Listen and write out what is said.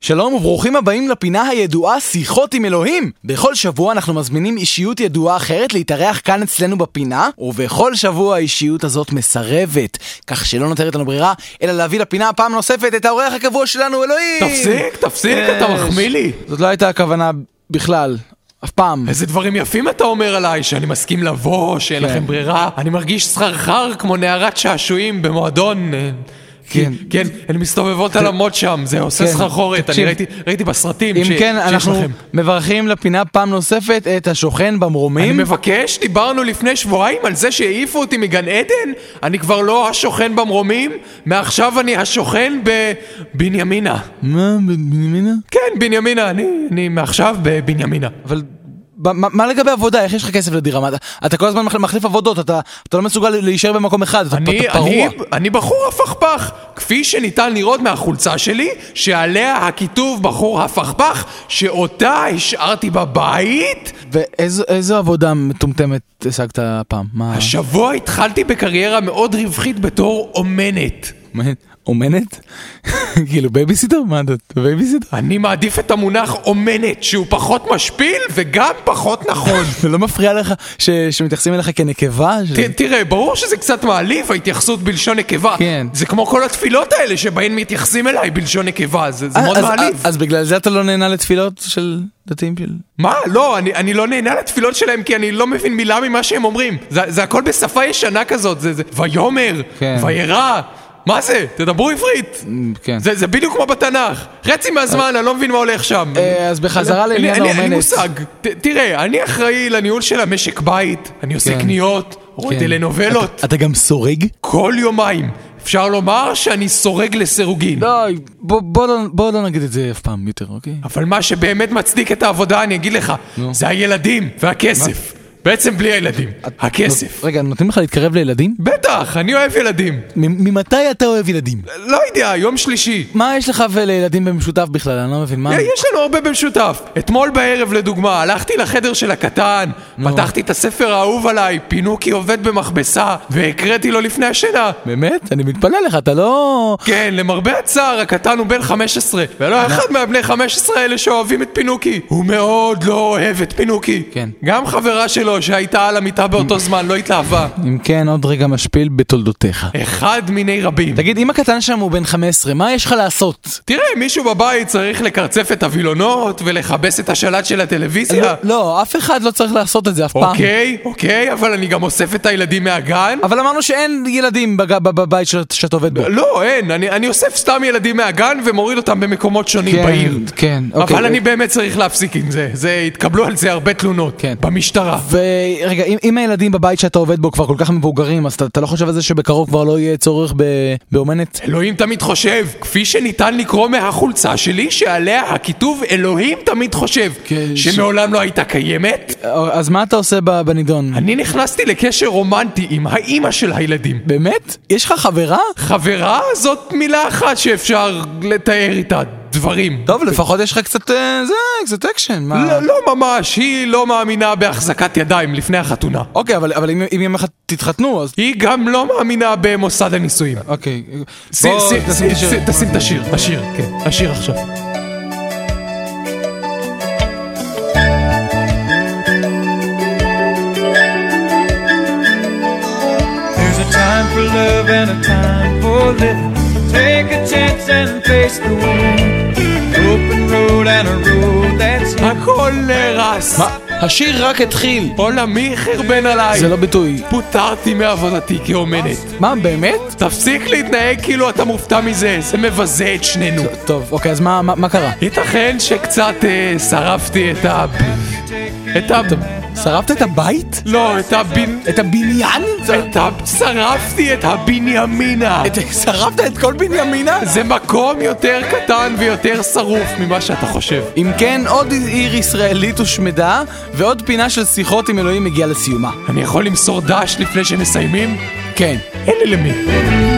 שלום וברוכים הבאים לפינה הידועה שיחות עם אלוהים! בכל שבוע אנחנו מזמינים אישיות ידועה אחרת להתארח כאן אצלנו בפינה, ובכל שבוע האישיות הזאת מסרבת, כך שלא נותרת לנו ברירה, אלא להביא לפינה פעם נוספת את האורח הקבוע שלנו, אלוהים! תפסיק, תפסיק, יש. אתה מחמיא לי. זאת לא הייתה הכוונה בכלל, אף פעם. איזה דברים יפים אתה אומר עליי, שאני מסכים לבוא, שאין כן. לכם ברירה. אני מרגיש סחרחר כמו נערת שעשועים במועדון. אה, כן. כי- כן, הן מסתובבות על המות שם, זה עושה כן. סחרחורת, אני תקשיב. ראיתי- ראיתי בסרטים ש- אם כן, שיש אנחנו לכם. מברכים לפינה פעם נוספת את השוכן אני במרומים. מבקש, דיברנו לפני שבועיים על זה שהעיפו אותי מגן עדן, אני כבר לא השוכן במרומים, מעכשיו אני השוכן בבנימינה. מה, בנימינה? כן, בנימינה, אני אני מעכשיו בבנימינה. אבל ב- מה מה לגבי עבודה? איך יש לך כסף לדירה? מה, אתה- אתה כל הזמן מח- מחליף עבודות, אתה אתה לא מסוגל להישאר במקום אחד, אתה אני, פ- אתה פרוע. אני, אני בחור הפכפך, כפי שניתן לראות מהחולצה שלי, שעליה הכיתוב בחור הפכפך, שאותה השארתי בבית. אה. ואיזו עבודה מטומטמת השגת הפעם? מה? השבוע התחלתי בקריירה מאוד רווחית בתור אומנת. אומנת? כאילו בייביסיטר? מה אתה בייביסיטר? אני מעדיף את המונח אומנת, שהוא פחות משפיל וגם פחות נכון. ולא לא מפריע לך ש- שמתייחסים אליך כנקבה? ש- ת, כן, תראה, ברור שזה קצת מעליב ההתייחסות בלשון נקבה. כן. זה כמו כל התפילות האלה שבהן מתייחסים אליי בלשון נקבה, זה, זה אה, מאוד אז- מעליב. אז בגלל זה אתה לא נהנה לתפילות של דתיים של... מה? לא, אני, אני לא נהנה לתפילות שלהם כי אני לא מבין מילה ממה שהם אומרים. זה, זה הכל בשפה ישנה כזאת, זה, זה ויאמר, כן. וירא. מה זה? תדברו עברית. כן. זה, זה בדיוק כמו בתנ"ך. חצי מהזמן, אני לא מבין מה הולך שם. אה, אז בחזרה אני- לעניין אני- אין האומנת. לי מושג. ת, תראה, אני אחראי לניהול של המשק בית, אני עושה כן. קניות, רואה טלנובלות, אתה גם סורג? כל יומיים. אפשר לומר שאני סורג לסירוגין. לא, בוא- בוא לא- בוא לא נגיד את זה אף פעם יותר, אוקיי? אבל מה שבאמת מצדיק את העבודה, אני אגיד לך, זה הילדים והכסף. בעצם בלי הילדים, הכסף. רגע, נותנים לך להתקרב לילדים? בטח, אני אוהב ילדים. מ- ממתי אתה אוהב ילדים? לא יודע, יום שלישי. מה יש לך ולילדים במשותף בכלל? אני לא מבין מה... יש לנו הרבה במשותף. אתמול בערב, לדוגמה, הלכתי לחדר של הקטן, פתחתי את הספר האהוב עליי, פינוקי עובד במכבסה, והקראתי לו לפני השינה. באמת? אני מתפלא לך, אתה לא... כן, למרבה הצער, הקטן הוא בן 15, ולא אחד מהבני 15 האלה שאוהבים את פינוקי. הוא מאוד לא אוהב את פינוקי. כן. גם חברה שלו, שהייתה על המיטה באותו זמן, לא התלהבה. אם כן, עוד רגע משפיל בתולדותיך. אחד מיני רבים. תגיד, אם הקטן שם הוא בן 15, מה יש לך לעשות? תראה, מישהו בבית צריך לקרצף את הווילונות ולכבס את השלט של לא, הטלוויזיה. לא, אף אחד לא צריך לעשות את זה אף פעם. אוקיי, אוקיי, אבל אני גם אוסף את הילדים מהגן. אבל אמרנו שאין ילדים בג- בב- בבית שאת- שאתה עובד בו. לא, אין, אני, אני אוסף סתם ילדים מהגן ומוריד אותם במקומות שונים כן, בעיר. כן, אוקיי. אבל אני באמת צריך להפסיק עם זה. זה, התקבלו על זה הרבה תלונות. כן. במשטרה. ורגע, אם, אם הילדים בבית שאתה עובד בו כבר כל כך מבוגרים, אז אתה, אתה לא חושב על זה שבקרוב כבר לא יהיה צורך ב, באומנת? אלוהים תמיד חושב, כפי שניתן לקרוא מהחולצה שלי, שעליה הכיתוב אלוהים תמיד חושב, כן, ש- שמעולם לא הייתה קיימת. אז מה אתה עושה ב- בנידון? אני נכנסתי לקשר רומנטי עם האימא של הילדים. באמת? יש לך חברה? חברה זאת מילה אחת שאפשר לתאר איתה דברים. טוב, לפחות יש לך קצת, אה, זה, קצת אקשן, מה? לא, לא ממש, היא לא מאמינה בהחזקת ידיים לפני החתונה. אוקיי, אבל, אבל אם, אם יום אחד תתחתנו, אז... היא גם לא מאמינה במוסד הנישואים. אוקיי. שים- בוא, שים- תשים את שים- השיר. תשים את השיר, השיר, כן, השיר עכשיו. There's a time for love and a time for living. Take a chance and face the wind. Open road and a road that's הכל נהרס, מה? השיר רק התחיל. עולמי חרבן עליי. זה לא ביטוי. פוטרתי מעבודתי כאומנת. מה, באמת? תפסיק להתנהג כאילו אתה מופתע מזה, זה מבזה את שנינו. טוב, אוקיי, אז מה, מה, מה קרה? ייתכן שקצת אה, שרפתי את ה... את ה... שרפת את הבית? לא, את הבנ... את הבניין? את ה... שרפתי את הבנימינה. את- שרפת את כל בנימינה? זה מקום יותר קטן ויותר שרוף ממה שאתה חושב. אם כן, עוד עיר ישראלית הושמדה, ועוד פינה של שיחות עם אלוהים הגיעה לסיומה. אני יכול למסור דש לפני שמסיימים? כן. אין לי למי.